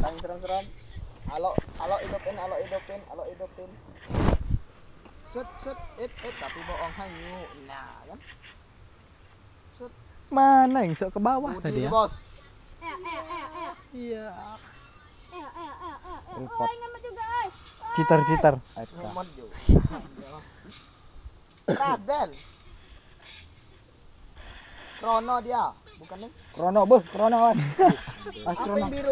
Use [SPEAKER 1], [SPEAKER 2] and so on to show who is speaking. [SPEAKER 1] Tang serem-serem. Alok, alok hidupin, alok hidupin, alok hidupin. Set, set, it, it, tapi bohong hanyu. Nah, kan? Set,
[SPEAKER 2] Mana yang sok ke bawah
[SPEAKER 1] budi
[SPEAKER 2] tadi ya?
[SPEAKER 1] bos.
[SPEAKER 2] Iya.
[SPEAKER 3] Oh, ini nama juga, ay.
[SPEAKER 2] Citar-citar.
[SPEAKER 1] Nyemot yo. Raden. Krono dia, bukan nih?
[SPEAKER 4] Krono beh, Krono awas.
[SPEAKER 1] Apa yang biru?